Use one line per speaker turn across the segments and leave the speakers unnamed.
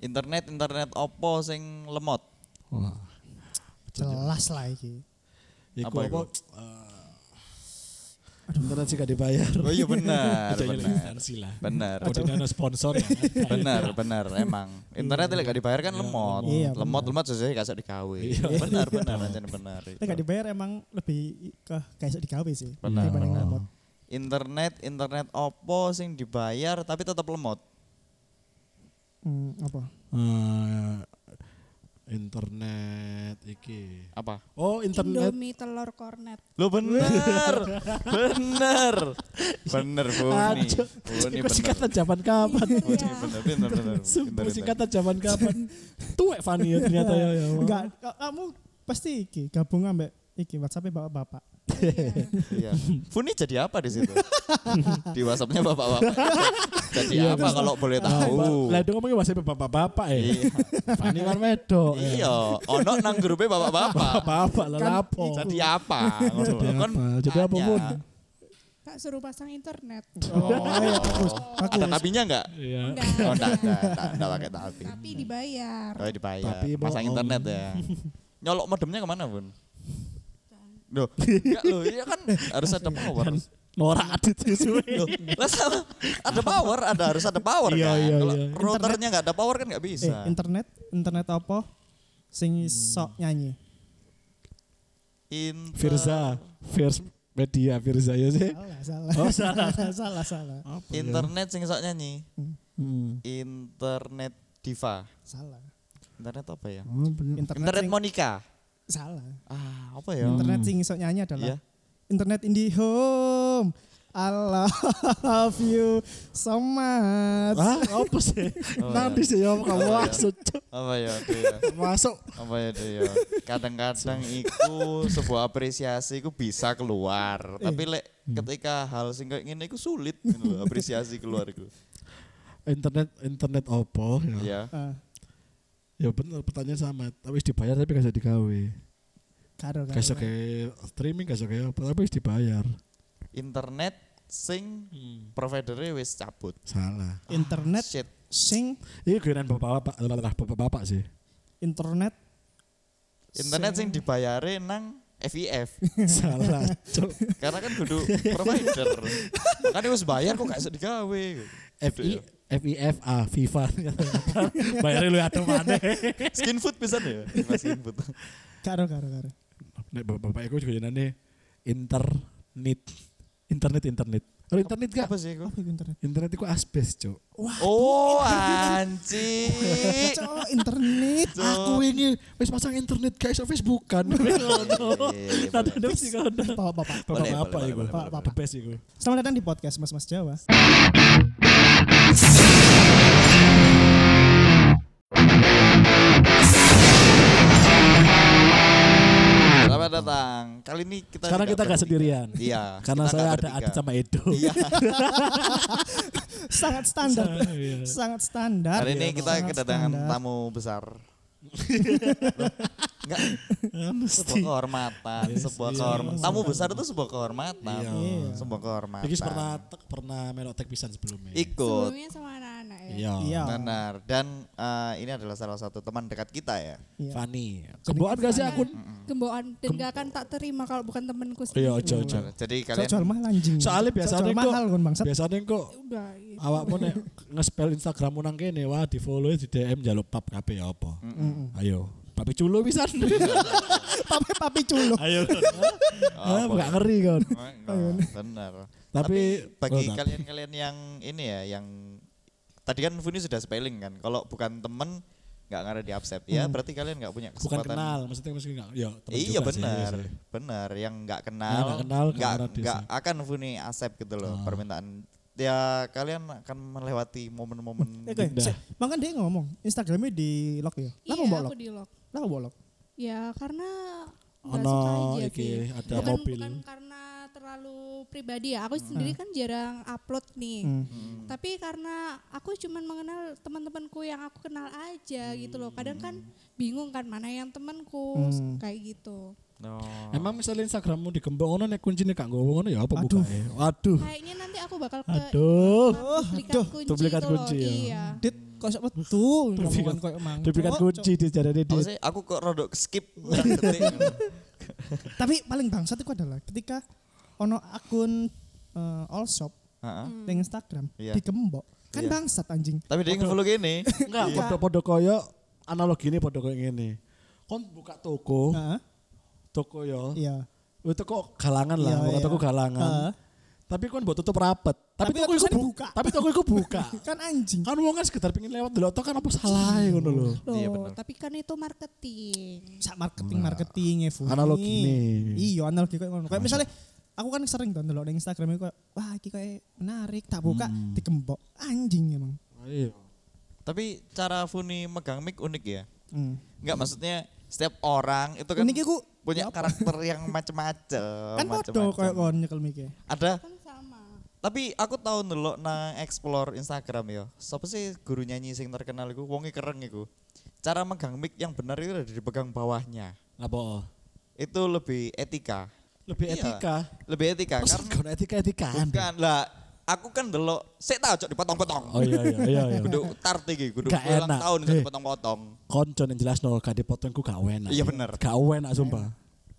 Internet internet opo sing lemot?
Wah.
Jelas lah iki.
Iku
Apa
apa?
iku?
Aduh, internet sih gak dibayar.
Oh iya benar,
Ada yang
benar.
Ah, instansi lah.
Benar.
Udah ada sponsor ya.
Benar, benar emang. Internet lek gak dibayar kan lemot.
Iya,
Lemot lemot sesuai kasih digawe. Benar, benar anjen benar.
Tapi gak dibayar emang lebih ke kayak sok digawe sih.
Benar,
dibanding
benar. Oh.
remote.
Internet internet opo sing dibayar tapi tetap lemot.
Hmm, apa?
Eh, internet iki.
Apa?
Oh, internet.
Indomie telur kornet.
Lo bener, bener, bener Buni,
Aduh,
Buni
Iku
bener,
singkatan zaman kapan?
Iya.
Buni bener, bener, bener,
Sumpah
bener, bener.
singkatan zaman kapan? Tuwek
Anu
Fani ya ternyata ya. ya Allah.
Enggak, ka- kamu pasti iki gabung ambek iki WhatsApp bapak-bapak.
Iya. Buni jadi apa di situ? di WhatsAppnya bapak-bapak. Jadi
Iya,
apa
kan?
kalau boleh
Ba-
tahu?
Lah itu ngomongnya bahasa bapak-bapak ya.
Iya.
Fani Marmedo. ya.
Iya, ono nang grupnya bapak-bapak.
Bapak-bapak lah
Kan
lapo.
Jadi apa? Ngono.
Oh. Jadi
Kon
apa? Jadi apa
tanya.
pun.
Kak suruh pasang internet.
Oh.
Ayo, fokus,
Ada
fokus.
tapinya enggak?
Iya.
Oh, enggak,
Enggak.
enggak, enggak, enggak pakai tapi.
Tapi dibayar.
Oh, dibayar.
Tapi
Pasang
bohong.
internet ya. Nyolok modemnya kemana, Bun? Loh, enggak loh, iya kan harus ada power.
Norak adit sih
Eh,
suwe.
Loh, lah sama. ada power, ada harus ada power
Iya,
kan.
iya,
Kalau
iya.
routernya nggak ada power kan nggak
Eh,
bisa.
internet, internet apa? Sing sok nyanyi.
Inter-
Firza, First Media Firza ya sih.
Salah, salah.
Oh, salah.
salah, salah.
ya?
Internet sing sok nyanyi.
Hmm.
Internet diva.
Salah.
Internet apa ya?
Oh, bener.
Internet,
Internet
sing,
Monica.
salah.
Ah, apa ya?
Internet sing sok nyanyi adalah
Iya.
internet in the home. I love you so much.
Ah, apa sih?
Oh,
Nanti sih ya kamu
Oh, iya.
masuk. Cuk.
Apa ya? Apa ya?
Masuk.
Apa ya? Apa ya? Kadang-kadang iku sebuah apresiasi iku bisa keluar,
Iya.
tapi lek
Hmm.
ketika hal sing kayak ngene iku sulit gitu loh, apresiasi keluar iku.
Internet internet opo ya.
Ya.
Ah,
Ya bener pertanyaan sama, tapi wis dibayar tapi gak jadi gawe.
karo karo.
Gak iso kayak streaming gak iso kayak apa tapi wis dibayar.
Internet sing
Hmm.
providernya wis cabut.
Salah.
Internet
Shit.
sing
Iya kirain bapak-bapak, lelah bapak-bapak sih.
internet
Internet sing dibayare nang FIF.
Salah. Cuk.
Karena kan kudu provider. Makanya wis bayar kok gak iso digawe.
FI FIFA FIFA bayarin Iya. lu atau mana
Skin food bisa ya? Mas skin food.
karo karo karo.
nek bapak aku juga jenane internet internet internet oh internet gak
Apa sih iku?
Apa itu internet?
internet itu asbes cok
Oh, anjing.
Eh, Cok, internet.
aku ini wis pasang internet guys so Facebookan
Iya,
ada ada sih kan
Bapak, bapak.
Boleh,
bapak apa
boleh,
iku
boleh,
boleh,
the best iku
Selamat datang di podcast Mas Mas Jawa.
Selamat datang. Kali ini kita
sekarang
tidak
kita gak
bertiga.
sendirian
Iya.
karena
kita
saya
nggak
ada
bertiga.
Adit sama Edo
Iya.
Sangat standar.
Iya.
Sangat standar. Iya,
Hari ini
Sangat
kita kedatangan
standar.
tamu besar. Enggak, sebuah
mesti
kehormatan, sebuah kehormatan. Tamu besar itu sebuah kehormatan,
Iya.
sebuah kehormatan.
Iki pernah pernah melok tek pisan sebelumnya
ikut.
Sebelumnya sama anak-anak ya.
Iya.
Benar. Dan eh, ini adalah salah satu teman dekat kita ya.
Iya.
Fani kebohon gak sih aku
Gemboan dan gak akan tak terima kalau bukan temanku sendiri.
iya ojo ojo
Jadi
Cok,
kalian Oh,
jual mahal anjing.
Soalnya
Cok,
biasanya
jual
kok-
mahal kan, kon bangsat.
biasanya kok
Udah gitu.
awakmu nek ngespel Instagrammu nang kene wah di follow di DM njaluk pap kabeh ya apa. Ayo, papi culo pisan.
Papi papi culuk.
Ayo.
Oh,
Ah, gak ngeri kan.
benar.
Tapi
bagi
oh, tak-
kalian-kalian yang ini ya yang tadi kan Funi sudah spelling kan kalau bukan temen nggak ngarep di upset ya berarti kalian nggak punya
Hmm. bukan
kesempatan
kenal, maksudnya mesti enggak. Ya, teman
iya
juga sih,
benar
sih.
benar yang nggak
Yang
kenal
nggak kenal, Ah. nggak
nggak
ngarep di
nggak
accept.
akan Funi accept gitu loh permintaan ya kalian akan melewati momen-momen
Oke,
Dinda.
sik. Makan dia ngomong Instagramnya di lock ya. Lah kok
iya,
mbok lock?
aku di lock.
Lah kok mbok lock?
Ya karena nggak
Ono
suka aja
iki,
sih.
ada
bukan,
mobil. Mm.
bukan karena terlalu pribadi ya. Aku sendiri kan jarang upload nih.
Hmm.
Tapi karena aku cuman mengenal teman-temanku yang aku kenal aja gitu loh. Kadang kan
Mm.
bingung kan mana yang temanku
Hmm.
kayak gitu.
no.
Emang misalnya Instagrammu digembok ngono nek kuncine gak nggowo ngono ya apa
Aduh.
bukae. Waduh.
Kayaknya nanti aku bakal ke
Aduh.
duplikat kunci
Duplikat
itu loh.
kunci ya.
Iya.
Dit, Kok sok metu
Diberikan-
ngomongan koyo mang.
Diberikan
Cok,
kunci di jarane
Apa
di
sih? Aku kok rodok skip pirang detik.
cok. Tapi paling bangsat itu adalah ketika ono akun eh, all shop
Heeh.
di
Hmm.
Instagram
Iya.
dikembok. Kan
Iya.
bangsat anjing.
Tapi dia nge-follow gini.
enggak podo-podo koyo analogi ini podo koyo ngene. Kon buka
Oh.
toko,
Heeh.
toko yo.
Nah. Iya.
Wih, toko galangan lah,
Iya,
buka
iya.
toko galangan.
Heeh.
Tapi kon buat tutup rapet. Tapi,
Tapi
toko iku
tulisannya
bu-
buka.
Tapi toko iku buka.
Kan anjing.
kan wong kan sekedar pengen lewat dulu kan apa salah ya ngono lho.
Loh,
Iya, bener.
tapi kan itu marketing.
sak marketing
Nah.
marketing ya Fu.
Analogi
Ini.
nih.
Iya analogi kayak ngono. Kayak misalnya aku kan sering tuh ndelok di Instagram iku kayak wah iki kayak menarik tak buka
Hmm.
dikembok anjing emang.
Iya.
Tapi cara Funi megang mic unik ya.
Hmm.
Enggak maksudnya setiap orang itu kan
Kan iki ku
punya
apa?
karakter yang macem-macem.
kan podo
macem-macem.
kayak kon nyekel mike.
Ada
Kan sama.
Tapi aku tahu ndelok nang explore Instagram ya. Siapa sih guru nyanyi sing terkenal iku? Wonge kereng iku. Cara megang mic yang benar itu ada dipegang bawahnya.
Apa?
Itu lebih etika.
Lebih
Iya.
etika.
Lebih etika
Terus
karena
kan etika-etikaan.
bukan lah. Aku kan ndelok sik tak cok dipotong-potong.
Oh iya iya iya iya.
Kudu tart iki, kudu
Gak
ulang
enak.
tahun sik
Eh.
dipotong-potong.
Konco yang jelas no gak dipotong ku gak enak.
Iya, bener.
Gak enak sumpah.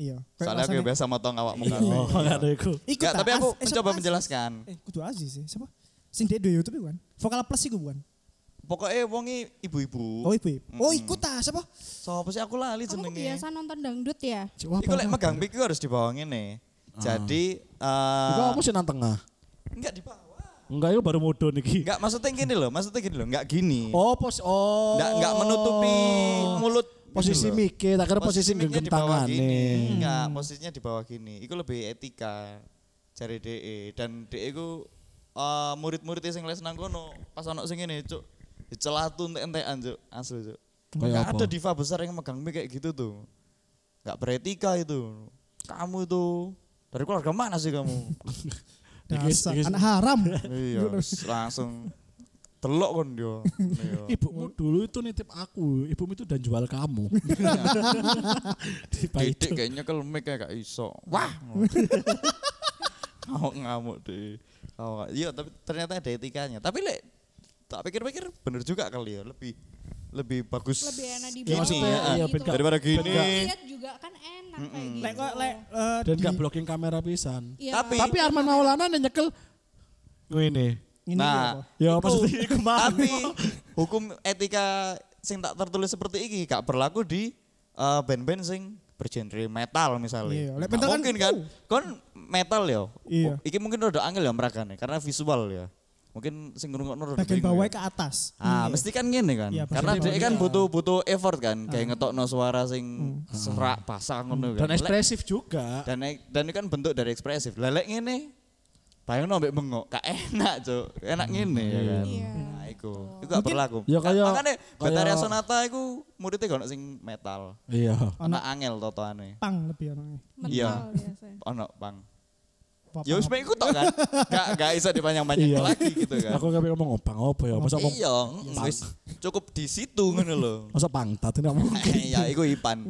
Iya. Kayak
Soalnya aku
rasanya-
ya biasa motong awakmu
Iya,
kan.
makanya iku.
Iku
Gak,
tak
tapi aku
as- eh,
mencoba
siapa as-
menjelaskan.
Eh kudu Aziz sih. Siapa? Sing dia di YouTube iku kan. Vokal plus iku bukan.
Pokoknya wonge ibu-ibu.
Oh ibu. Oh iku ta siapa?
Sopo sih aku lali
Kamu
jenenge.
biasa nonton dangdut ya?
Cuk, apa?
Iku lek megang mic iku harus di bawah ngene. Jadi
Iku
eh
kamu sih nang tengah.
enggak di bawah.
Enggak itu baru mudo niki.
Enggak maksudnya gini loh, maksudnya gini loh, enggak gini.
Oh pos oh.
Enggak enggak menutupi mulut gitu
Posisi
loh.
mike, tak kira posisi
mic-nya
genggam
di bawah
tangan Hmm.
gini.
nih.
Enggak, posisinya di bawah gini. Iku lebih etika cari DE dan DE ku eh murid-murid sing les nang kono pas ono sing ngene cuk dicelatu entek-entekan cuk asli cuk.
Kayak
Enggak
apa?
ada diva besar yang megang mic kayak gitu tuh. Enggak beretika itu. Kamu itu dari keluarga mana sih kamu?
Dikis-
Dasar
dikis.
anak haram.
iya langsung telok kon dia Iya.
Ibumu dulu itu nitip aku, ibumu itu dan jual kamu. Di
didik
Baido.
kayaknya kalau mic kayak gak iso wah ngamuk ngamuk deh Ngamuk. iya tapi ternyata ada etikanya tapi lek tak pikir-pikir bener juga kali ya lebih lebih bagus
Lebih enak di
gini
bawah
ya.
iya,
gitu.
bener.
daripada gini
Lihat juga kan enak kayak gitu.
Lek kok lek eh,
kan.
Dan
di-
gak blocking kamera pisan.
Iya.
Tapi-
Tapi Arman Maulana nih nyekel ngene.
ini
nah
apa?
Ya
iku-
Iya,
maksudnya iku mau.
tapi hukum etika sing tak tertulis seperti ini gak berlaku di eh, band-band sing bergenre metal misalnya.
Iya, lek
Gak
metal kan-
mungkin kan, kon metal ya.
Iya.
Iki mungkin rada angel ya merakane karena visual ya. Mungkin sing ngrungokno rada
bagian
bingung
bawah
ya.
ke atas.
Ah,
Iya.
mesti kan gini kan.
Iya,
karena dia kan
pasti bawahnya. Ah. Hmm.
butuh butuh effort kan, kayak ngetokno suara sing serak pasang ngono kan.
Dan ekspresif juga.
dan dan itu kan bentuk dari ekspresif. Lelek ngene. Bayangno mbek bengok, gak enak, Cuk. Enak ngene ya kan.
Iya.
Nah, iku. Iku gak berlaku.
Hmm, ya kayak-
Makane
kayak-
Bataria Sonata iku muridnya gak ono sing metal.
Iya.
Ono angel totoane.
Pang lebih orangnya.
mental
Iya.
biasanya.
e. Ono pang.
Pop-
Ya wis mek iku tok kan. Gak gak iso dipanjang-panjang
Iya.
lagi gitu kan.
Aku gak ngomong opang apa ya. Masa ngomong
Iya, mm, wis cukup di situ ngono lho.
masa pangtat ini ngomong.
Eh, ya iku Ipan.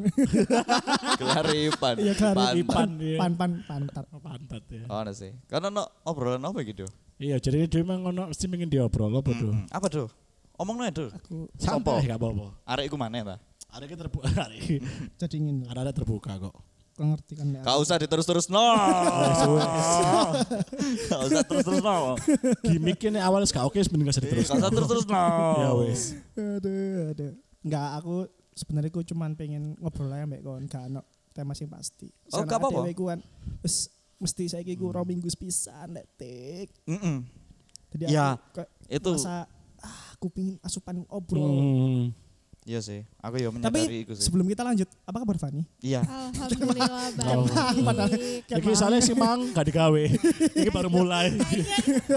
Gelar Ipan.
Iya, gelar
Pantan.
Ipan ya.
Pan pan pantar.
Pantat ya.
Ono sih. Karena ono obrolan apa gitu.
Iya, jadi dia memang ngono mesti pengen diobrol apa tuh.
Apa, Duh? Omongno ya, Duh.
Aku
Sopo?
Sampai gak apa-apa.
Arek iku maneh ta?
Ada kita terbuka. Ada
jadi ingin
ada terbuka kok.
Kau ngerti kan ya.
Gak usah diterus-terus no. Gak usah terus-terus no.
Gimiknya nih awal gak oke sebenarnya gak usah
Gak
diteruskan.
usah terus-terus no.
Ya wes.
Aduh, aduh. Enggak, aku sebenarnya aku cuman pengen ngobrol aja mbak kawan gak ono tema sing pasti.
Oh, gak apa-apa.
Dewe ku kan wis mesti saiki ku rong minggu sepisan detik.
Mm-mm.
Jadi
Ya,
aku kayak
itu.
merasa ah, aku pingin asupan obrol.
Hmm.
Iya sih. Aku ya menyadari
Tapi
iku sih.
sebelum kita lanjut, apa kabar Fani?
Iya.
Alhamdulillah
Padahal-
baik.
Iki soalnya si Mang gak digawe. Iki baru mulai.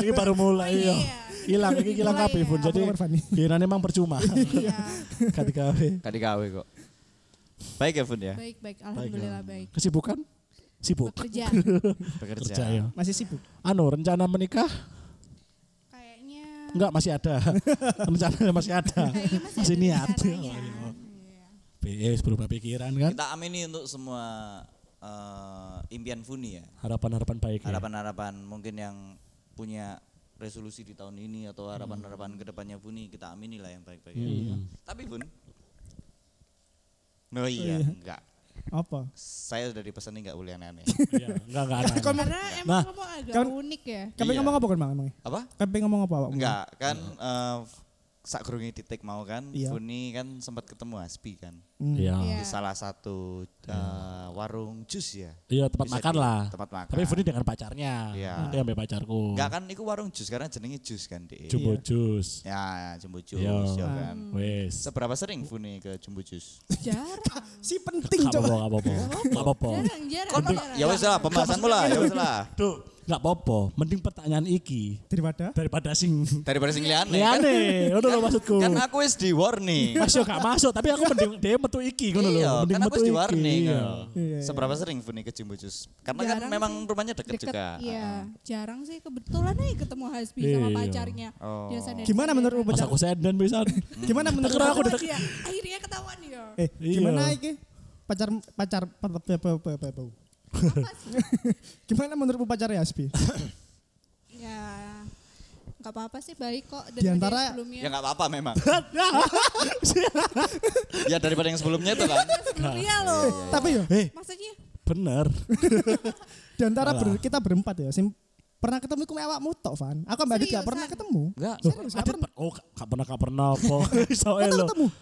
Iki baru mulai
Iya.
iya. Hilang iki hilang
Mulai
kabeh
ya.
pun.
Apa
Jadi
kabar Fani?
biarane Mang percuma.
Iya.
Gak digawe.
Gak digawe kok. Baik ya, Fun ya.
Baik baik. Alhamdulillah baik.
Kesibukan? Sibuk.
Bekerja.
Kerja
Bekerja.
ya.
Masih sibuk?
Anu rencana menikah?
Kayaknya.
Enggak masih ada. rencana masih ada.
Kayaknya
Masih
Iya, ada
niat.
rencananya. Iya.
PS berubah pikiran kan?
Kita amini untuk semua eh, impian Funi ya.
Harapan-harapan baik. ya.
Harapan-harapan mungkin yang punya resolusi di tahun ini atau harapan-harapan kedepannya Buni kita amini lah yang baik-baik. Tapi Bun, no iya enggak.
Apa?
Saya sudah dipesan nggak boleh aneh-aneh.
Iya, enggak enggak. Nah, aneh.
Karena emang kamu agak
kan-
unik ya.
Kape
Iya.
ngomong apa kan, Bang? Emang?
Apa?
Kape ngomong apa, Pak?
Enggak kan
Iya.
eh sak kerungi titik mau kan,
Iya.
Buni kan sempat ketemu Hasbi kan
Hmm.
Iya.
di
Iya.
salah satu eh, warung jus ya.
Iya tempat
Bisa
makan
di-
lah.
tempat makan.
Tapi Funi dengan pacarnya.
Iya.
Dia ambil pacarku.
Enggak kan, itu warung jus karena jenenge jus kan deh.
Jumbo
Iya.
jus.
Ya, jumbo jus
Iya.
ya kan.
Wes.
Seberapa sering Buni ke jumbo jus?
Jarang.
Ah, Si penting
Gak
coba.
apa-apa, gak apa-apa. Gak apa-apa.
jarang, jarang, jarang.
Ya wes lah, pembahasanmu lah, ya wes lah.
Duh, gak apa-apa. Mending pertanyaan iki
Daripada
daripada sing
Daripada sing liane kan.
liane. Ngono lho maksudku.
Kan aku wis di warning.
Mas yo gak masuk, tapi aku mending dia metu iki ngono lho.
Iya,
Mending
kan aku
metu
wis
iki.
di warning.
Iya.
Iya, iya.
Seberapa sering Buni ke Jumbo Jus? Karena kan
Jarang
memang
sih.
rumahnya deket, juga.
Iya, jarang sih kebetulan aja ketemu Hasbi sama
Iya.
pacarnya.
Oh.
Biasanya
Gimana menurutmu
Mas
pacar?
aku senden pisan.
Gimana menurut
Terus aku
Ketahuan
ditek-
dia, iya. akhirnya ketahuan ya.
Eh,
Iya.
gimana iki? Pacar pacar pa- pa- pa- pa- pa- pa- pa- Gimana menurutmu pacar ya, Asbi?
Iya. Ya, nggak apa-apa sih baik kok.
Di antara-
daripada yang sebelumnya.
Ya nggak apa-apa memang. ya daripada yang sebelumnya itu kan.
sebelumnya loh.
iya,
Tapi ya,
Eh,
Maksudnya
bener.
di antara
Alah.
ber- kita berempat ya, sing pernah ketemu iku awakmu tok, Van. Aku mbak Adit gak
Seriusan?
pernah ketemu.
Enggak.
Loh, Adit, per- oh gak pernah gak pernah apa. Iso ae
Kita
lho.
ketemu.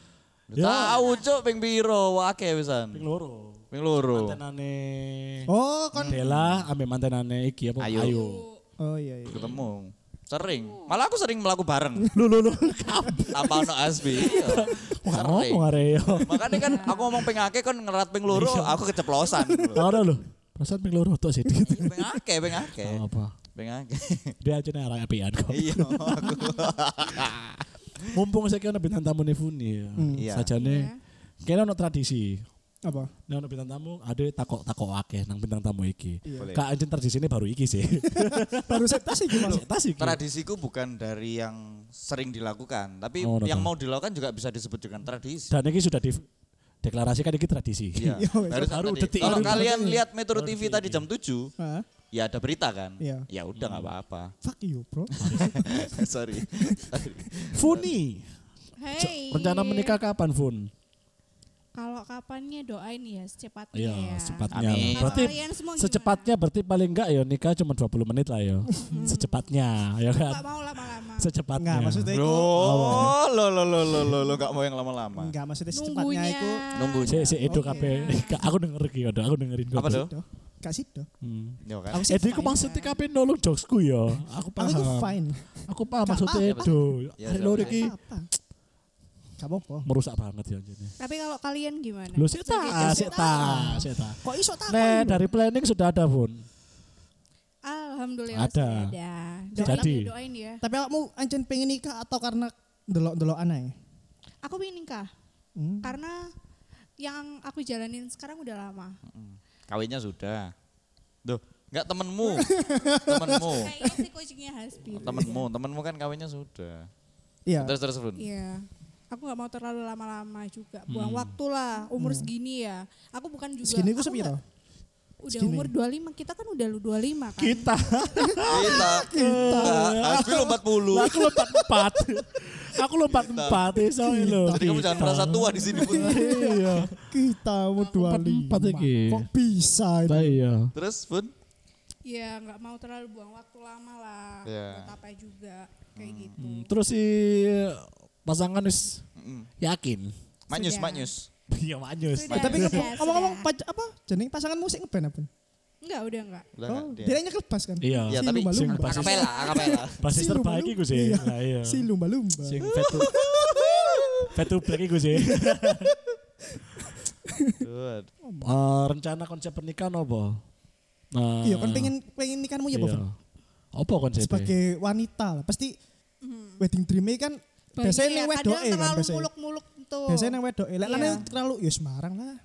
Ya.
Tahu cuk ping piro wake pisan.
Ping loro.
Ping loro.
Mantenane
Oh, kon.
Dela ambil mantenane iki apa?
Ayu.
Hmm.
Oh iya iya.
Ketemu. Sering. Malah aku sering melaku bareng.
Lu lu lu kabeh.
Apa ono Asbi? Iya.
Gak
Sering.
ngomong are yo.
Makanya kan aku ngomong ping akeh kan ngerat ping loro,
Iya.
aku keceplosan.
Tahu dah lu. Perasaan ping loro tok sih dikit.
Ping akeh, ping akeh.
Apa?
Ping akeh.
Dia aja nih arah apian kok.
Eh. Iya, aku.
Mumpung saya kira bintang tamu nih Funi.
Iya.
Saja nih. Kayaknya ono tradisi.
Apa?
Nah, ono bintang tamu ada takok takok akeh nang bintang tamu iki.
Boleh.
Kak Anjen tradisi ini baru iki sih.
Baru saya tas iki, Mas.
Tas iki.
Tradisiku bukan dari yang sering dilakukan, tapi
Oh, no,
yang
no.
mau dilakukan juga bisa disebut dengan tradisi.
Dan ini sudah dideklarasikan ini tradisi.
Iya.
Iya, wes.
Barusan
Baru
tadi.
detik.
Kalau
Baru
kalian
detik.
lihat Metro TV tadi jam 7,
Hah?
ya ada berita kan?
Iya.
Ya udah nggak apa-apa.
Fuck you, bro.
Sorry.
Funi,
hey.
rencana menikah kapan Fun?
Kalau kapannya doain ya secepatnya
Iya,
ya.
secepatnya.
Amin.
Kalau
Berarti
kalian semua gimana?
secepatnya berarti paling enggak ya nikah cuma 20 menit lah ya. secepatnya, ya kan?
Nggak mau lama-lama.
Secepatnya.
Enggak, maksudnya
Lo,
itu
lo, lo, lo, lo, lo, lo, nggak mau yang lama-lama.
enggak maksudnya secepatnya
Nunggunya.
itu
Nunggu.
Si si Edo
Oke.
kabeh. Enggak, aku denger iki Edo, aku dengerin
Apa
kok.
tuh?
Duh, Gak sih, Duh.
Hmm.
Ya kan?
Aku sih
Edo iku
fine.
maksudnya kabeh nolong jokesku ya. Aku
Aku itu
paham.
fine.
Aku paham
Gak
maksudnya
apa-apa.
Edo.
Ya, udah,
Arek loro
udah.
iki
Gak apa. Gak apa-apa.
merusak banget ya jadi.
Tapi kalau kalian gimana?
Lu sih
Sebagai
ta, sih
cowok?
ta, sih ta.
Kok iso takon?
Nek
bro?
dari planning sudah ada pun.
Alhamdulillah
Ada.
sudah ada. Doain
Jadi.
ya, doain ya.
Tapi awakmu ancen pengen nikah atau karena delok-delok aneh?
Aku pengen nikah
Hmm.
karena yang aku jalanin sekarang udah lama.
Kawinnya sudah. Duh, nggak temenmu. temenmu.
Kayaknya sih coachingnya Hasbi.
Temenmu, temenmu kan kawinnya sudah.
Iya.
Terus terus Bun.
Iya. Aku nggak mau terlalu lama-lama juga. Buang
Hmm.
waktu lah. Umur segini ya. Aku bukan juga.
Segini ku
aku
sepiro?
nggak- Udah
Segini.
umur 25. Kita kan udah lu 25 kan.
Kita.
Kita, kita. Asbi lo 40.
Aku lompat empat. Aku lompat empat. Iso lo.
Jadi kamu jangan merasa
Gitu.
tua di sini Bun.
Iya.
Kita mau dua
empat iki.
Kok bisa?
Nah,
ini?
iya.
Terus Bun.
Ya nggak mau terlalu buang waktu lama lah.
Iya.
Buat apa juga. Kayak gitu.
Hmm, Terus si pasangan is
Mm-mm.
yakin.
Manyus,
Sudah.
manyus.
Iya manyus.
Sudah.
Eh, Tapi
Sudah,
ngomong- ngomong-ngomong
sudah.
pac- apa? Jeneng pasangan musik ngeband apa?
Enggak udah enggak.
Udah
Oh,
nggak, Nah, dia.
dia nyekel bass kan?
Iya.
Ya
Si
tapi
lumba-lumba.
Sing basis,
akapela, akapela.
basis
Si
terbaik
lumba-lumba.
iku sih.
Iya.
Lah iya.
Si lumba-lumba.
Sing Vetu. Vetu Black iku sih.
Dude.
Eh, rencana konsep pernikahan apa? Eh,
Iya, kan pengen pengen nikahmu ya,
iya.
Bovan.
Apa konsepnya?
Sebagai wanita lah, pasti wedding dream kan
Banyak
biasanya
Hmm. ya,
yang
kadang
wedoke kan
terlalu
biasanya.
muluk-muluk tuh.
Biasanya yang wedoke. Lah
Iya.
lanang terlalu ya Semarang lah.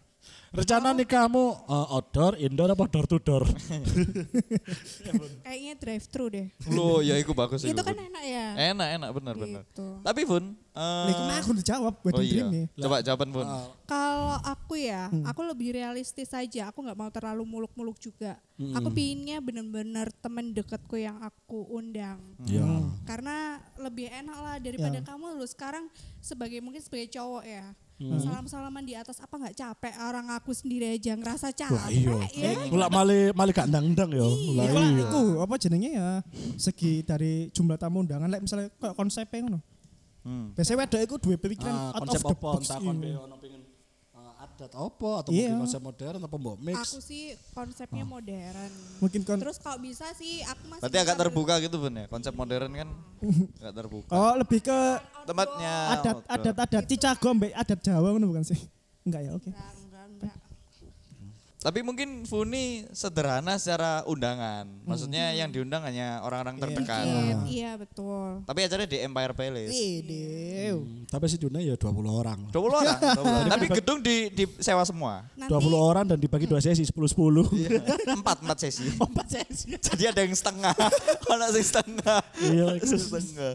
Rencana nikahmu eh, outdoor, indoor apa door to door?
Kayaknya drive thru deh.
Loh, ya iku bagus
Itu
iku,
kan
Bun.
enak ya.
Enak, enak benar-benar.
Gitu.
Tapi Bun, eh,
Lah, kok aku udah jawab wedding
oh iya.
dream ya.
Coba jawaban Bun.
Kalau aku ya,
Hmm.
aku lebih realistis aja. Aku nggak mau terlalu muluk-muluk juga. Aku
Hmm.
pinginnya bener-bener temen deketku yang aku undang.
Ya.
Hmm.
Karena lebih enak lah daripada
Ya.
kamu lu sekarang sebagai mungkin sebagai cowok ya.
Hmm.
Salam-salaman di atas apa nggak capek orang aku sendiri aja ngerasa capek
Wah iya.
ya.
Mulak mali mali gak ndang-ndang ya. Lah
Iku lah,
iya.
iku apa jenenge ya segi dari jumlah tamu undangan lek misalnya kayak konsepnya ngono.
Hmm.
Biasanya wedok iku duwe pemikiran
Ah,
out
konsep
of the
apa
box.
entah
iya.
kon pe ono pengen eh, adat apa atau
Iya.
mungkin konsep modern apa mbok
Aku
mix. Ah. Kan
sih konsepnya modern.
Mungkin kon
Terus kalau bisa sih aku masih
Berarti
bisa
agak
ber-
terbuka gitu Bun ya. Konsep modern kan agak terbuka.
Oh, lebih ke
Tempatnya
Ah,
adat
outdoor.
adat adat Cicago mbek adat Jawa ngono bukan sih? Enggak ya, oke.
Enggak, enggak, enggak.
Tapi mungkin Funi sederhana secara undangan. Maksudnya
Hmm.
yang diundang hanya orang-orang terdekat.
Dikit, Iya betul.
Tapi acaranya di Empire Palace.
Wede.
Hmm, tapi si Juna ya 20 orang.
20 orang. 20 orang. Tapi gedung di, di sewa semua.
Nanti
20 orang dan dibagi dua sesi 10 10.
Iya.
Empat, empat sesi. Empat sesi. Jadi ada yang setengah. Ada yang setengah.
Iya.
Ada yang setengah.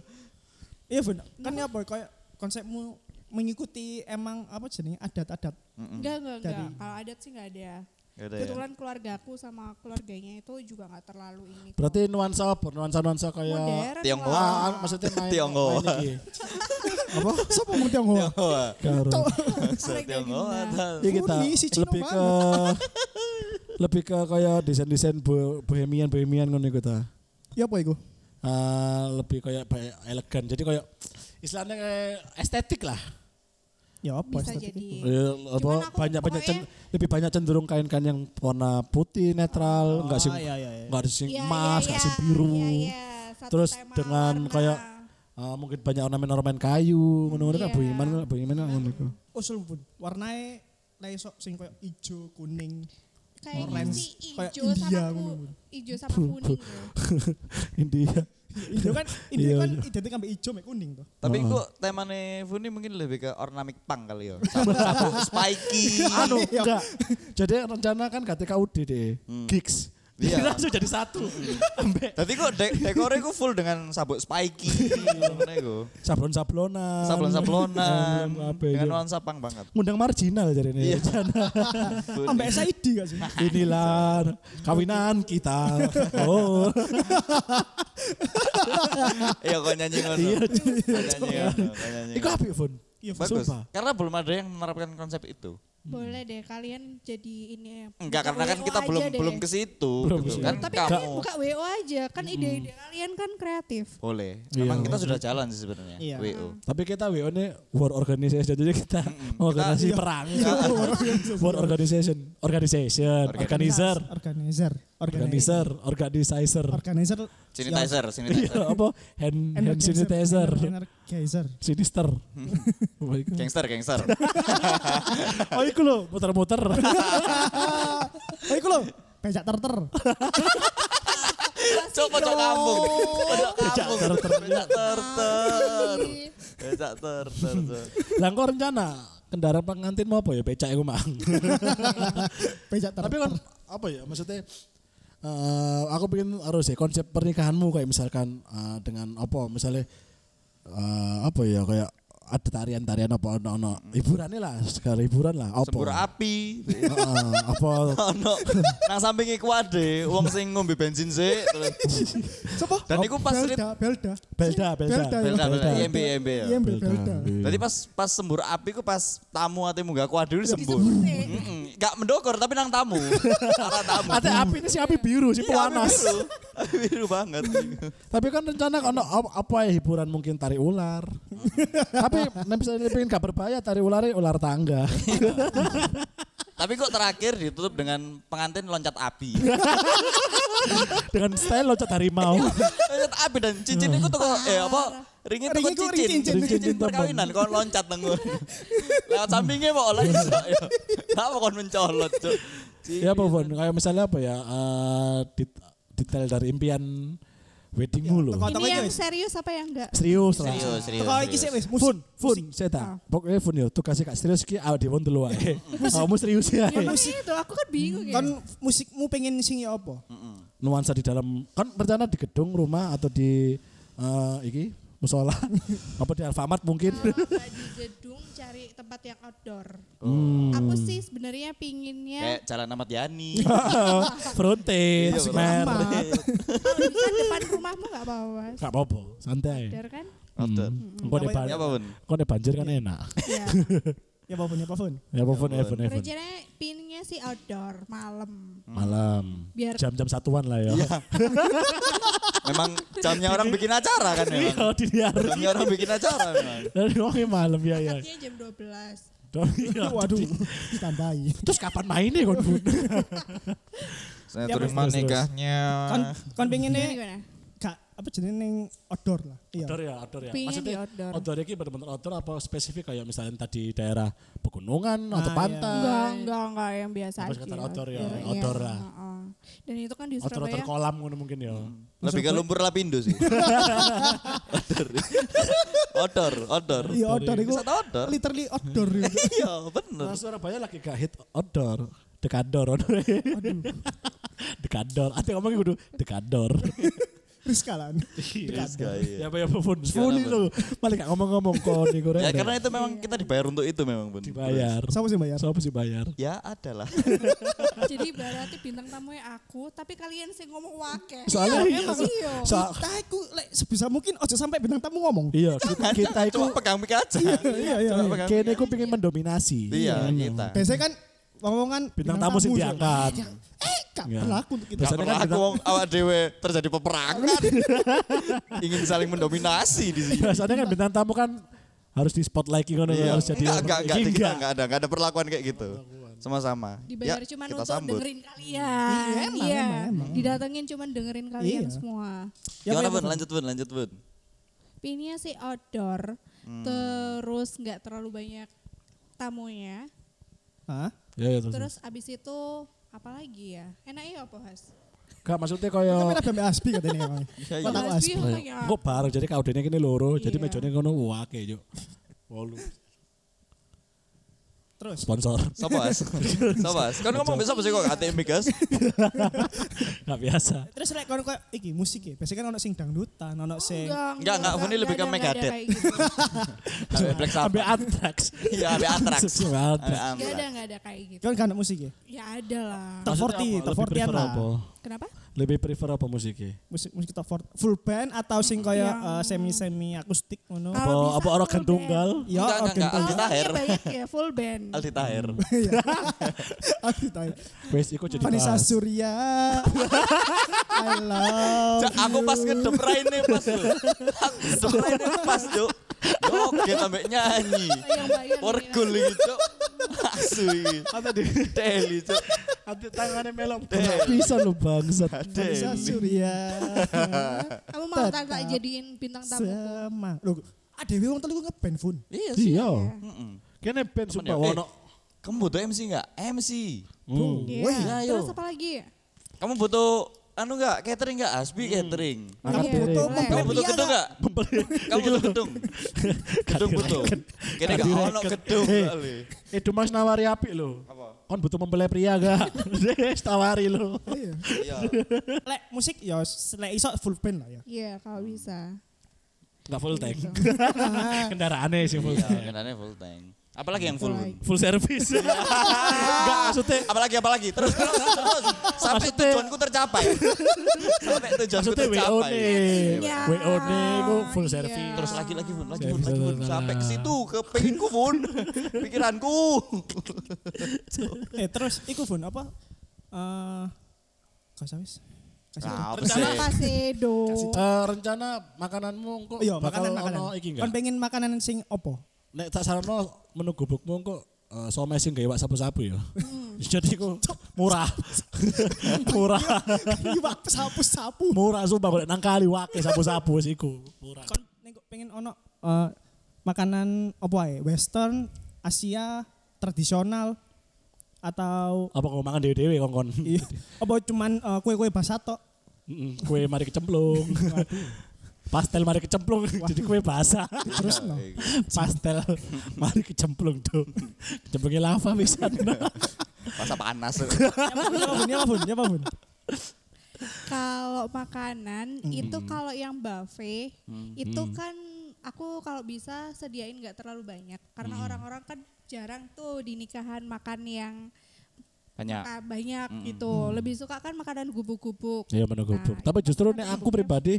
Iya, Bun. Kan ya boy kayak konsepmu mengikuti emang apa jenenge adat-adat.
enggak enggak enggak.
Dari-
Kalau adat sih enggak ada.
Gak ada ya?
Kebetulan keluargaku sama keluarganya itu juga enggak terlalu ini. kok.
Berarti nuansa apa? Nuansa-nuansa kayak
modern
Tionghoa.
lah.
Wah, maksudnya main
Tionghoa.
main iki.
Apa? Sopo ngomong Tionghoa?
Wah,
Karo.
Mereka
Tionghoa.
gimana?
Iya kita
Funi, si Cino
lebih ke lebih ke kayak desain-desain bohemian bohemian ngono iku ta.
Ya apa iku?
Eh, lebih kayak ba- elegan. Jadi kayak istilahnya kayak estetik lah.
Ya apa?
Bisa
estetik
jadi.
iku?
Eh, apa,
Iya. aku
banyak banyak
pokoknya-
cen- lebih banyak cenderung kain-kain yang warna putih netral, enggak sih
Ah, iya, iya, iya.
enggak ada sing
Iya,
emas,
iya,
enggak
iya.
sing biru.
Iya, iya. Satu
Terus
tema
dengan
warna.
kayak eh, mungkin banyak ornamen-ornamen kayu, ngono-ngono kan
Iya.
bohemian, bohemian kan ngono iku.
Usul Oh, Bun. Warnae lek sok sing koyo ijo, kuning.
Kayaknya
orange.
sih
Kayak
hijau sama
India
ku,
ngono.
hijau sama kuning. ya.
India.
Ijo kan
Iya,
ini kan
iya.
identik ambe ijo mek kuning tuh.
Tapi kok temane Funi mungkin lebih ke ornamik pang kali ya. Sabu-sabu spiky.
anu enggak. Jadi rencana kan KTKUD deh, gigs.
Iya.
Jadi langsung jadi satu. Ambek
Tadi kok de dekornya ku full dengan sabuk spiky. Ngene iku.
sablon-sablonan.
Sablon-sablonan.
Apa
Dengan
itu?
nuansa pang banget.
Ngundang marginal jadi ini.
Iya. Bun.
Ambe SID gak sih?
Inilah kawinan kita. Oh,
Iya kok nyanyi ngono. Iya nyanyi ngono. kok nyanyi
itu
ngono.
apik Fun.
Iya,
Bagus.
Sumpah.
Karena belum ada yang menerapkan konsep itu.
Boleh deh kalian jadi ini. ya,
Enggak
buka
karena kan
WO
kita
aja
belum
deh.
belum ke situ.
Belum
gitu.
ke situ.
Kan
Tapi
kamu
kalian buka WO aja kan ide-ide kalian kan kreatif.
boleh.
Iya.
Memang kita sudah jalan sih sebenarnya.
Iya.
WO.
Tapi kita WO ini war organization. Jadi kita organisasi perang.
Iya.
Oh, iya.
war organization. Organization.
Organizer.
Organizer.
Organizer.
Organizer. Organizer.
Organizer.
Sanitizer,
Iya,
sanitizer.
apa? Hand, hand sanitizer.
Energizer.
Sinister. Oh, iku.
Gangster, gangster.
oh iku lho, muter-muter.
Oh iku lho, becak terter.
Cok pojok kampung. Pojok kampung. Becak terter.
Ih,
Becak terter. Cok.
Lah engko rencana kendaraan pengantin mau apa ya becak iku mang.
Becak terter.
Tapi kan apa ya maksudnya eh, aku pengen harus ya konsep pernikahanmu kayak misalkan eh, dengan apa misalnya eh, apa ya kayak ada tarian-tarian apa ono ono hiburannya lah sekali hiburan lah apa
Sembur api.
Heeh, apa
Ono. Nang sampingi kuade wong sing ngombe bensin sih.
Sopo?
Dan iku pas rip-
Belda, Belda.
belda belda
Belda,
Belda, belda.
Belda.
IMB, IMB ya.
Iya, Mbak Belda.
iya.
Tadi pas pas sembur api ku pas tamu ate munggah kuadu sembur.
sih.
Heeh. Gak mendokor tapi nang tamu. Arah tamu.
Ate api ini si api biru si
Iya, api
pewanas.
biru. Api biru banget.
Tapi kan rencana kan apa, apa ya hiburan mungkin tari ular. Tapi nek bisa pengen gak berbahaya tari ular ya ular tangga.
Tapi kok terakhir ditutup dengan pengantin loncat api.
Dengan style loncat harimau.
loncat api dan cincin itu tuh kok- eh apa? Ringnya tuh
Ringnya
kok
kok ring
cincin.
cincin,
Cincin,
cincin
perkawinan kok loncat nengun. Lewat sampingnya mau oleh. Kenapa kon mencolot, Cuk?
Iya. ya apa Bon? Kayak misalnya apa ya? eh, det- detail dari impian weddingmu lho.
teko- Foto
Ini
iki
yang
wis.
serius apa yang enggak?
Serius lah.
Serius, serius.
Teko iki
serius.
sik wis musik.
Fun, fun, saya
Ah.
tak. Pokoknya fun yo, tugasnya kak serius ki awak dewon telu wae. Kamu serius ya.
Ya makanya itu aku kan bingung ya.
Kan musikmu pengen sing ya apa?
Mm.
Nuansa di dalam kan rencana di gedung rumah atau di eh, iki musola apa di Alfamart mungkin.
Kalau di gedung cari tempat yang outdoor.
Hmm.
Aku sih sebenarnya pinginnya
Kayak jalan Ahmad Yani.
Hmm. Fronte,
Iya,
smer.
kalau bisa depan rumahmu nggak apa-apa.
Gak apa-apa, santai.
Outdoor kan?
Outdoor.
Engko nek
Ya apa
ban-
pun.
engko nek banjir kan enak.
Ya.
Ya apa pun ya apa pun.
Ya apa pun, Evan, Evan.
Rencananya pinginnya sih outdoor malam.
Malam.
Biar
Jam-jam satuan lah
Iya,
ya.
Memang jamnya orang bikin acara kan
Iya,
memang.
di liar.
Jamnya orang bikin acara memang.
Dari wongnya malam ya ya.
Katanya jam 12.
Iya.
Waduh, ditambahi.
Terus kapan mainnya kon Bun?
Saya
Ya,
terima
terus, terus.
nikahnya.
Kan kan
Gimana
Iya,
pengine
gimana?
gak apa jenenge ning outdoor lah. Iya.
Outdoor ya, outdoor ya.
Pingin
Maksudnya
di outdoor.
outdoor ini benar-benar outdoor apa spesifik kayak misalnya tadi daerah pegunungan atau
Ah,
Enggak,
pantai.
enggak, enggak yang biasa
Apa
aja.
sekitar outdoor ya,
iya.
outdoor lah.
Heeh. Dan itu kan di
Outdoor outdoor
Surabaya
kolam ngono mungkin ya.
Hmm.
Lebih ke lumpur lapindo sih. Odor. Odor,
Iya
odor.
outdoor iku.
Bisa tau odor.
Literally outdoor. iku.
Iya, bener.
Nah, Surabaya lagi gak hit outdoor. Dekador, outdoor. dekador. Ate ngomongnya kudu dekador.
Rizka lah.
Rizka, iya.
Ya apa ya apa pun. Sepuluh itu. Malah gak ngomong-ngomong kon iku
Ya
rek.
karena itu memang kita dibayar untuk itu memang Bun.
dibayar.
Siapa sih bayar?
Siapa sih bayar?
Ya adalah.
jadi berarti bintang tamunya aku, tapi kalian sih ngomong wake.
Soalnya iya.
Iya, emang iya.
Sa-
Kita iku lek sebisa mungkin ojo sampai bintang tamu ngomong.
Iya, kita, kita iku
Cuma pegang mic aja.
Iya iya.
Cuma
iya.
pegang
kene
mic.
iku pengen mendominasi.
Iya, kita.
Biasanya kan omongan
Bintang tamu sih diangkat.
Eh, gak
Iya.
berlaku untuk kita.
Biasanya
Pernah
kan
aku
bintang-
wong awak dewe terjadi peperangan. Ingin saling mendominasi di sini. Iya.
Biasanya kan bintang tamu kan harus di spotlight ngono harus Oh, jadi
enggak, enggak, enggak,
Iki
enggak, enggak ada, enggak ada perlakuan kayak gitu. Sama-sama.
Dibayar
Ya,
cuma
kita
untuk
sambut.
dengerin kalian. Iya,
emang, emang,
didatengin cuma dengerin kalian
Iya.
semua.
Gimana
apa
Bun? Lanjut Bun, lanjut Bun.
Pinnya sih outdoor,
Hmm.
terus nggak terlalu banyak tamunya.
Hah?
Ya, ya, terus.
Terus abis itu apa lagi ya? Enaknya apa, Has?
Enggak maksudnya
Kan
kaya
ada BMI Aspi katanya emang.
Iya, iya.
Kok tak
Mas
aspi?
Bi, apa ya?
kok bareng jadi kaudene kene loro, jadi
Iya.
mejane ngono wah akeh yo. Wolu
Terus
sponsor.
Sopo as? Sopo as? Kan ngomong bisa sih kok ATM Migas.
Enggak biasa.
terus lek kono koyo iki musik ya. Biasanya kan ono sing dangdutan,
Oh,
ono sing
Enggak, enggak, Funi lebih ke
ada, enggak ada
Megadeth.
kayak gitu.
Black
Ambe
Sabbath.
antrax.
Iya, ambil Antrax.
Langsung
Ambil
Antrax.
Enggak ada,
Antrax.
enggak ada kayak gitu.
kan gak ono musik ya.
Ya ada lah.
Top 40, top
Lebih
40
prefer
lah.
apa?
Kenapa?
Lebih prefer apa musiknya?
Musik musik top 40 full band atau sing
Iya.
koyo eh,
Yang-
semi-semi akustik ngono.
Ah.
Apa
Kalau bisa
apa orang
full band.
tunggal?
Ya,
Enggak, enggak,
oke.
enggak. Aldi Taher.
Orangnya banyak ya, full band.
Aldi Taher.
Aku tahu.
Wes iku jadi
Vanessa
bahas.
Surya. I love
Oh.
Cak, aku pas ngedep raine pas lho. Aku ngedep raine pas, Cuk. Joget sampe nyanyi.
Yang bayar.
Wargul iki, Cuk. Asu iki. Deli, Cuk.
Ati tangannya melok.
Deli.
Bisa lu
Kan.
bangsat.
Vanessa
Deli.
Surya.
Kamu mau tak tak jadiin bintang tamu?
Semang. Loh, adewe wong telu ku ngeband fun.
Iya sih.
ya.
Iya.
Heeh.
Kene
Temen
band
ya.
sumpah wono.
Eh, Kamu butuh MC enggak? MC.
Hmm.
Iya.
Wih, ayo.
Terus apa lagi?
Kamu butuh anu enggak? Catering enggak? Asbi
Hmm.
catering.
Angkat
Iya,
piring.
Foto
boleh.
Kamu
Pembelian
butuh gedung enggak? Kamu butuh gedung. Eh, Gedung butuh. Kene enggak
Gak
ono
direken.
gedung
Eh.
kali.
Eh Dumas nawari api lo.
Apa?
Kon butuh mempelai pria gak? Wes tawari lo.
Ah,
Iya.
Lek musik ya s- lek iso full band lah ya.
Iya, kalau bisa.
Enggak full tank. Kendaraannya sih full
Iya,
tank.
kendaraan full tank. Apalagi yang full.
Apalagi.
Full service. Enggak maksudnya
Apalagi apalagi terus terus terus sampai
Maksudnya-
tujuanku tercapai. sampai tujuanku
maksudnya WO
tercapai.
nih.
Iya.
WO nih ku full
Iya.
service.
Terus lagi lagi pun, lagi
Saya
pun,
bisa
lagi pun
tenang.
sampai ke situ, ke pinginku pun, pikiranku.
Eh terus iku fun apa? Eh gak usah wis. Kasih
Nah, apa sih?
Terima kasih, Do.
Eh, rencana makananmu kok
Iya,
bakal
makanan
ono
makanan.
iki
Kon
enggak?
pengen makanan sing opo?
Nek tak saranno menu gubukmu kok eh, somai sing gawe wak sapu-sapu ya. Jadi ku murah. murah.
Iya, Pak, sapu-sapu.
Murah sumpah golek nang kali wake sapu-sapu wis iku. Murah.
Kon nek kok pengen ono eh, makanan opo ae? Western, Asia, tradisional atau
Apa kau makan dewe-dewe kongkon?
iya, apa cuman eh, kue-kue basah tok?
Mm-mm, Kue mari kecemplung. Pastel mari kecemplung. Jadi kue basah.
Iya,
Terus no.
gitu.
Pastel mari kecemplung tuh. Kecemplungnya lava bisa.
Masa panas.
Iya, Nyapa bun, nyapa bun.
Kalau makanan itu kalau yang buffet itu kan aku kalau bisa sediain nggak terlalu banyak karena orang-orang kan jarang tuh di nikahan makan yang
Banyak.
ah, banyak gitu. Lebih suka kan makanan gubuk-gubuk.
Ya menu gubuk.
Nah,
Tapi
itu
justru nih
makanan
aku
gubuknya
pribadi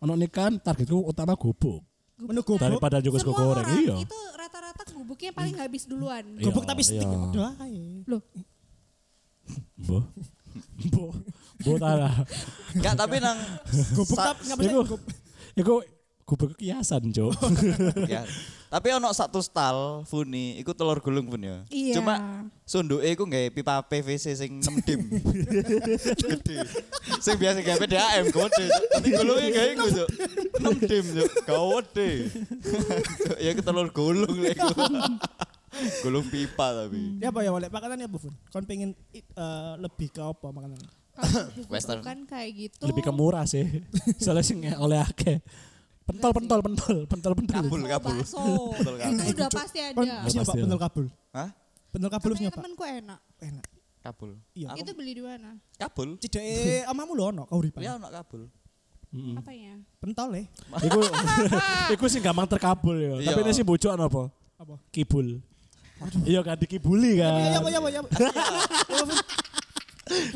ono nikahan targetku utama gubuk
gubuk.
Menu gubuk.
daripada juga sego
Semua
goreng.
orang
Iya.
itu rata-rata gubuknya paling habis duluan.
Iya,
Gobok tapi stick.
iya.
Doa ae.
Loh,
Mbok. Mbok. Mbok tara.
Enggak, tapi nang
Gobok
sa-
tapi nggak percaya.
Iku iku gubuk kiasan, Cuk.
Oh.
ya. Tapi ono satu stal Funi, iku telur gulung pun ya.
Iya.
Cuma sunduke iku nggawe pipa PVC sing 6 dim. Gede. Sing biasa gawe PDAM gede. Tapi gulunge gawe iku, Cuk. 6 dim, Cuk. Gawede. ya iku telur gulung lek iku. Gulung pipa tapi.
Ya apa ya boleh makanan ya Bu Fun? Kon pengen i- eh, lebih ke apa makanan?
kalau gubuk
Western.
kan kayak gitu.
Lebih ke murah sih. Soalnya sing oleh akeh. Pentol pentol pentol pentol pentol.
Kabul, kabul.
Bakso.
Betul, kabul.
itu udah pasti
Kon
ada.
Iya,
harusnya Pak
pasti.
bener kabul.
Hah?
Bener kabul harusnya
Katanya
Pak.
temenku enak.
Enak.
Kabul.
Iya.
Aku
Itu beli di mana?
kabul.
Cidek eh, omamu lho ono kauripan.
Ya ono kabul.
Mm-mm.
Apanya?
Pentol eh.
Iku iku sing gampang terkabul ya.
Iya.
Tapi ini sih bocok apa?
Apa?
Kibul. Iya kan dikibuli
Iya
kan.
apa ya apa ya. apa. Ya, Bu Fun.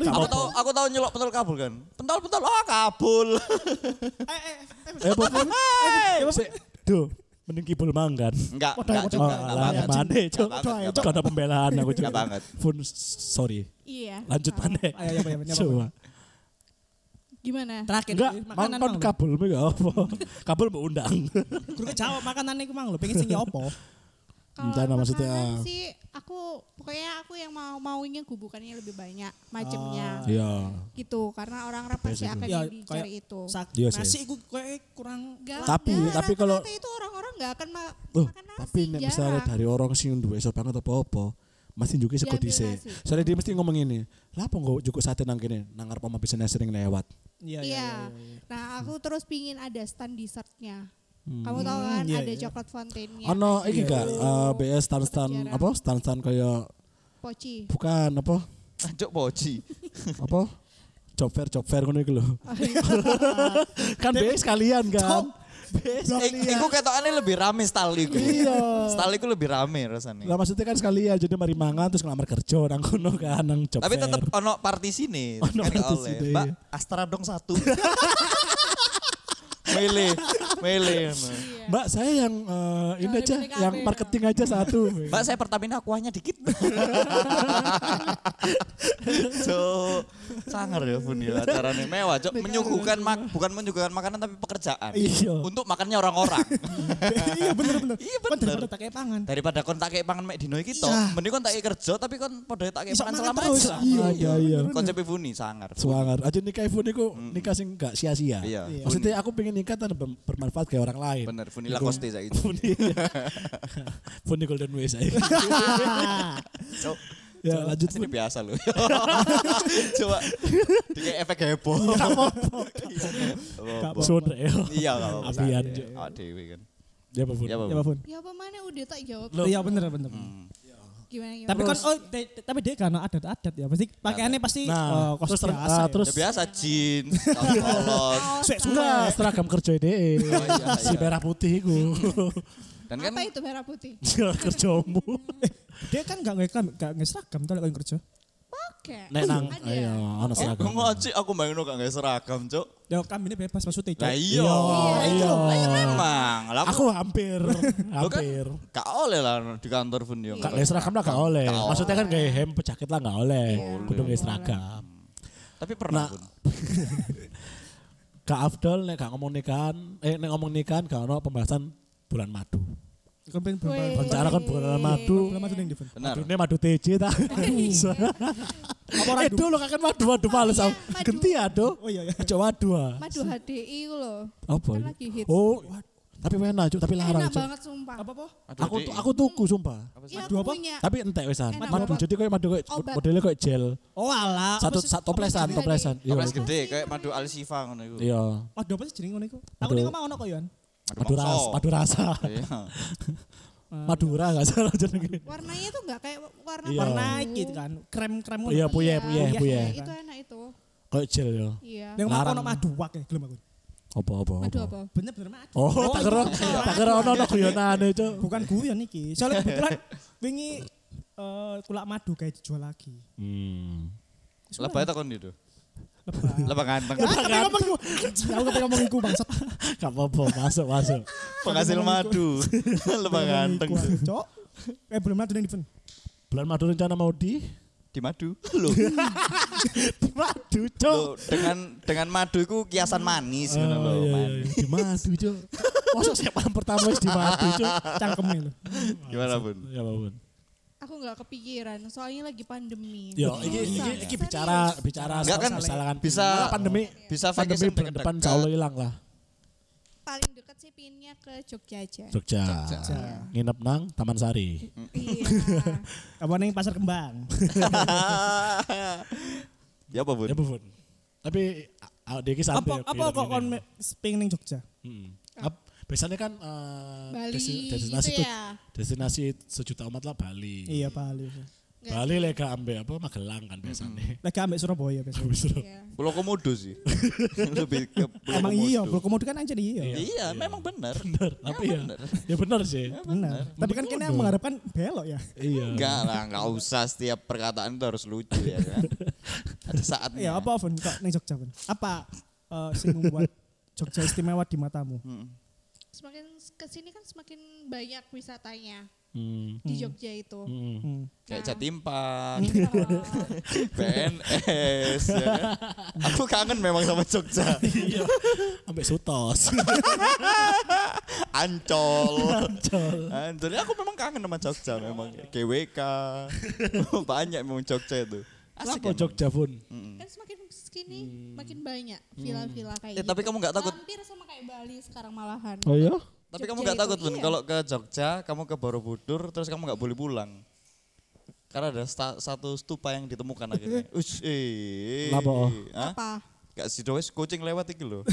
Aku tahu aku tahu nyelok pentol kabul kan. Pentol pentol oh kabul.
Eh eh
Eh
eh,
Bu,
Iya,
sik. Duh, mending kibul manggan.
Enggak,
Wadah,
enggak juga.
wadah.
Oh,
enggak
lah,
banget.
mana, Cuk?
Enggak banget, enggak
Cuk, ada pembelaan aku Cuk.
Enggak banget.
Fun sorry.
Iya.
Lanjut
Apa?
mana?
Ayo, apa, apa, apa.
Coba.
Gimana?
Terakhir
Enggak,
makanan
mangkon
Mang.
kabul mega apa? Kabul mbok undang.
Guru jawab makanan iku mang lho pengen sing ya apa?
Entah lah,
Kalau
maksudnya,
makanan
ah.
sih aku pokoknya aku yang mau maunya gubukannya lebih banyak macemnya
Iya.
gitu karena orang rapat pasti
Ah. Ya,
akan yang
kayak
dicari itu.
Sak-
Iya sih.
nasi iku kayak kurang
Enggak,
Tapi-
enggak,
tapi kalau-
rata-rata itu orang-orang nggak akan ma-
Loh,
makan nasi.
tapi nek misalnya
Iya,
jarang. Iya,
dari orang sing duwe iso banget apa-apa, mesti juga sego
Diambil
dhisik.
nasi.
Soalnya dia mesti ngomong ini, "Lah apa nggak cukup sate nang kene, nang arep omah bisnis sering lewat."
Iya
Iya. Nah, aku terus pingin ada stand dessertnya. Kamu tahu
Hmm,
kan
iya,
ada
iya. gitu.
coklat fountainnya,
Ono iki gak eh, BS stan-stan
Jarang.
apa? Stan-stan kaya
poci.
bukan apa?
Cuk poci.
Apa? Job fair, job fair ngono iku lho. kan BS kalian kan. BS
Eh, Iku ketokane lebih rame style iku. Iya. Style iku lebih rame rasane.
Lah maksudnya kan sekalian jadi mari mangan terus ngelamar kerja nang kono kan nang job
Tapi
fair.
tetep ono partisine.
Ono
Kan gak
partisine,
oleh.
iya.
Mbak, Astra dong satu. Mele, mele. ngono.
Iya.
Mbak saya yang eh, ini
Yang
aja,
lebih
yang
PKB.
marketing aja satu.
Mbak saya Pertamina kuahnya dikit. Cuk, sangar ya Bun ya acaranya mewah, Cuk. Menyuguhkan mak bukan menyuguhkan makanan tapi pekerjaan.
gitu. Iya.
Untuk makannya orang-orang.
Iya bener bener.
Iya,
Kon
bener.
daripada tak kayak pangan.
Eh,
Daripada kon tak kei pangan mek dino iki tok,
Iya.
mending kon tak kei kerja tapi kon padha tak kei
Iso
pangan
mangan
selama
terus.
selama.
Iya, iya, iya.
Konsep Buni sangar.
Suangar. Aja nikah ibu niku nikah sing gak sia-sia.
Hmm. Iya. Iya.
Maksudnya aku pengen nikah tanpa ber- bermanfaat kayak orang lain.
Bener, Buni Lacoste saiki.
Funi, Funi Golden Way saya.
Cok,
ya lanjut
ini biasa loh. Coba dikei efek heboh. Apa-apa.
Sun Reo.
Iya, gak apa-apa.
Apian,
Iya.
Cuk.
Awak dhewe kan.
Ya Pak Fun.
Ya,
Ya Pak
apa-apa.
Fun.
Ya apa mana udah tak jawab.
Iya bener bener.
Hmm.
Gimana gimana?
Tapi kan oh de- de- tapi dia karena adat-adat ya. Pasti pakaiannya pasti
Nah,
eh, kos
terus ter- ah,
biasa. ya.
terus
Ya biasa jeans, kaos polos.
Iya.
Kaos
Suek
sama-
Enggak, seragam kerja ide.
iya,
Si
iya.
merah putih iku.
Dan kan
apa itu merah putih?
kerjamu.
Dia kan gak ngekan gak ngeseragam tuh kalau kerja.
Oke.
Nek nang
Ada.
ayo
Eh,
ana seragam.
Aku ngaji, aku bayangin gak nggak seragam, Cuk.
Ya kami ini bebas maksudnya. Cok.
Lah iya.
Iya,
Itu
iya.
loh, lah iya memang. Lah aku
Aku hampir, hampir.
gak oleh lah di kantor pun yo.
Gak le seragam lah gak oleh.
Gak oleh.
Maksudnya kan kayak hem jaket lah gak oleh. Kudu nge seragam.
Tapi pernah
Nah.
pun.
Kak Afdol nek gak ngomong nikahan, eh nek ngomong nikahan gak ono pembahasan bulan madu. iya.
Kon pengen
Weh.
berapa?
Rencana kan bulan madu.
Belum ada yang di Fun.
Benar.
Madune madu TJ ta. Eh dulu kakek madu madu males aku.
madu.
Genti ya do.
Oh iya iya.
Coba madu ah.
Madu HDI itu loh.
Apa?
Kan lagi hits.
Oh, Tapi enak, Cuk, tapi larang,
Enak
Cuk.
banget sumpah.
Apa po?
Aduh,
Aku
Dik.
tu- aku tuku sumpah.
Iya
Madu
aku
apa?
punya.
Tapi entek wesan.
Enak
Madu
banget. Oh,
jadi kayak madu kayak
Obat.
modelnya kayak gel.
Oh alah.
Satu
apa sih-
satu toplesan,
apa sih?
toplesan. Iya.
Toples gede kayak madu alsifa ngono iku.
Iya.
Waduh apa sih jenenge ngono iku? Aku
Madu.
ning omah ono kok Yon.
Madu
mangso.
ras, madu rasa.
Iya.
Hmm.
Madura enggak salah jenenge.
Warnanya tuh enggak kayak warna
Iya.
warna
Warna iki kan, krem-krem ngono.
Iya, puye, puye,
Iya.
puye.
Itu enak itu.
Kayak gel ya.
Iya.
Ning omah aku
Larang.
ono madu wak ya, gelem aku.
Apa apa
Madu
apa.
apa?
Bener-bener madu.
Oh, tak kira
iya.
tak kira ono ono guyonane, Cuk.
Bukan guyon iki. Soalnya kebetulan wingi eh, kulak madu kayak dijual lagi.
Hmm.
Lebay takon itu.
Lebay.
Lebay ganteng.
Aku Ah, ngomong iku. Aku kepengen ngomong iku bangsat.
Gak apa-apa, masuk masuk.
Penghasil madu. Lebay ganteng.
Iku aku, Cok. Eh belum madu ning dipen.
Bulan madu rencana mau di
Di madu. Loh.
madu,
Loh, dengan dengan madu iku kiasan manis ngono
Oh,
lho.
iya,
manis.
Di madu, Cuk. Masa siapa yang pertama wis di madu, Cuk?
Cangkemnya lho.
Gimana pun.
Ya ampun.
Aku enggak kepikiran, soalnya lagi pandemi.
Yo, Ya, iki iki, iki bicara bicara
Enggak kan
soal kesalahan.
bisa
Malah pandemi
bisa vacation
pandemi bulan depan
dekat-dekat.
insya Allah hilang lah.
Paling deket sih pinnya ke Jogja aja.
Jogja. Nginep nang Taman Sari.
Iya.
Apa ning pasar kembang.
ya apa bun?
Ya Bu, Bun. Tapi ah, dia iki
Apa
santai.
apa kok kon me- pengen ning Jogja?
Biasanya kan eh,
Bali
desi-
gitu
destinasi tu-
ya.
destinasi sejuta umat lah Bali.
Iya Bali.
Nggak
Bali lega ambek apa Magelang kan biasanya.
Lagi ambek Surabaya biasanya.
Habis itu.
Iya.
Pulau Komodo sih. Lebih ke Pulau
Emang iya,
Komodo.
Bro Komodo kan anjir iya.
Iya, memang benar.
Bener, tapi ya.
bener.
Ya benar sih.
Benar. Tapi kan kena mengharapkan belok ya.
Iya.
Enggak lah, enggak usah setiap perkataan itu harus lucu ya kan. Ada saatnya.
Ya apa Von kok ning Jogja Von? Apa eh, sing membuat Jogja istimewa di matamu?
Hmm.
Semakin kesini kan semakin banyak wisatanya
Hmm.
di Jogja itu.
Hmm.
Hmm.
Kayak
Nah.
Jatimpak,
Oh.
PNS ya kan. Aku kangen memang sama Jogja.
Iya. Ambek sutos.
Ancol.
Ancol.
Ancol. Ya, Aku memang kangen sama Jogja memang. GWK. Banyak memang Jogja itu.
Asik
emang.
Jogja pun.
kan semakin kesini makin banyak
Hmm.
villa-villa
Eh,
kayak
tapi
gitu.
kamu nggak takut?
Hampir sama kayak Bali sekarang malahan.
Oh iya?
Tapi kamu
Jogja
nggak
itu,
takut Bun
iya.
kalau ke Jogja, kamu ke Borobudur terus kamu nggak boleh pulang. Karena ada sta- satu stupa yang ditemukan akhirnya. Us, eh.
Napa?
Hah?
Apa?
Gak sido wis kucing lewat iki lho.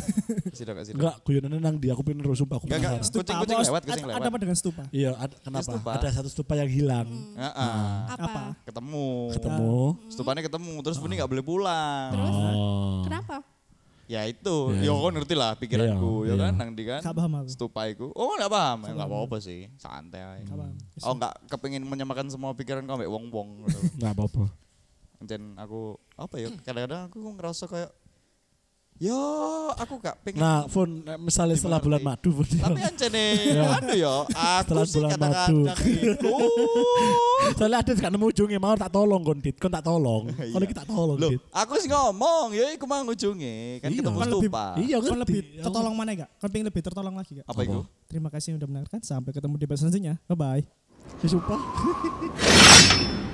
Sido gak sido.
Enggak, guyonannya nang di aku pengen terus sumpah aku
Enggak, enggak.
penasaran.
Stupa
Kucing-kucing
apa?
lewat, kucing
Ad-
lewat.
Ada apa dengan stupa?
Iya, ad- kenapa?
stupa.
Ada satu stupa yang hilang.
Hmm. Heeh.
Apa?
Apa?
Ketemu.
Ketemu.
Stupanya ketemu terus Buni nggak boleh pulang.
Oh.
Kenapa?
Ya itu, ya kau ngerti lah pikiranku,
Iya,
ya kan
iya.
nang di kan.
Gak paham aku.
Stupa iku. Oh nggak paham, ya nggak apa-apa sih, santai. aja.
paham.
Oh nggak kepingin menyamakan semua pikiran kau ambek wong-wong. gitu.
Enggak apa-apa.
Dan aku apa ya? Kadang-kadang aku ngerasa kayak, ya aku gak pengen.
Nah, Fun, eh, misalnya setelah bulan madu, Fun.
Tapi kan ancene, aduh ya, aku
Iya. Setelah
sih
bulan
kadang-kadang gitu.
madu.
iku.
Soalnya ada gak nemu ujungnya, mau tak tolong kon Dit, kon tak tolong. Kalau kita tolong
Iya. Loh,
Dit.
aku sih ngomong, ya iku mang ujungnya kan
Gitu. Iya.
ketemu
Kan
lebih-
stupa.
Iya,
Kau lebih
ngerti.
tertolong mana gak? Kau pengen lebih tertolong lagi gak?
Apa itu?
Terima kasih sudah mendengarkan. Sampai ketemu di episode selanjutnya. Bye bye.
Ya, sumpah.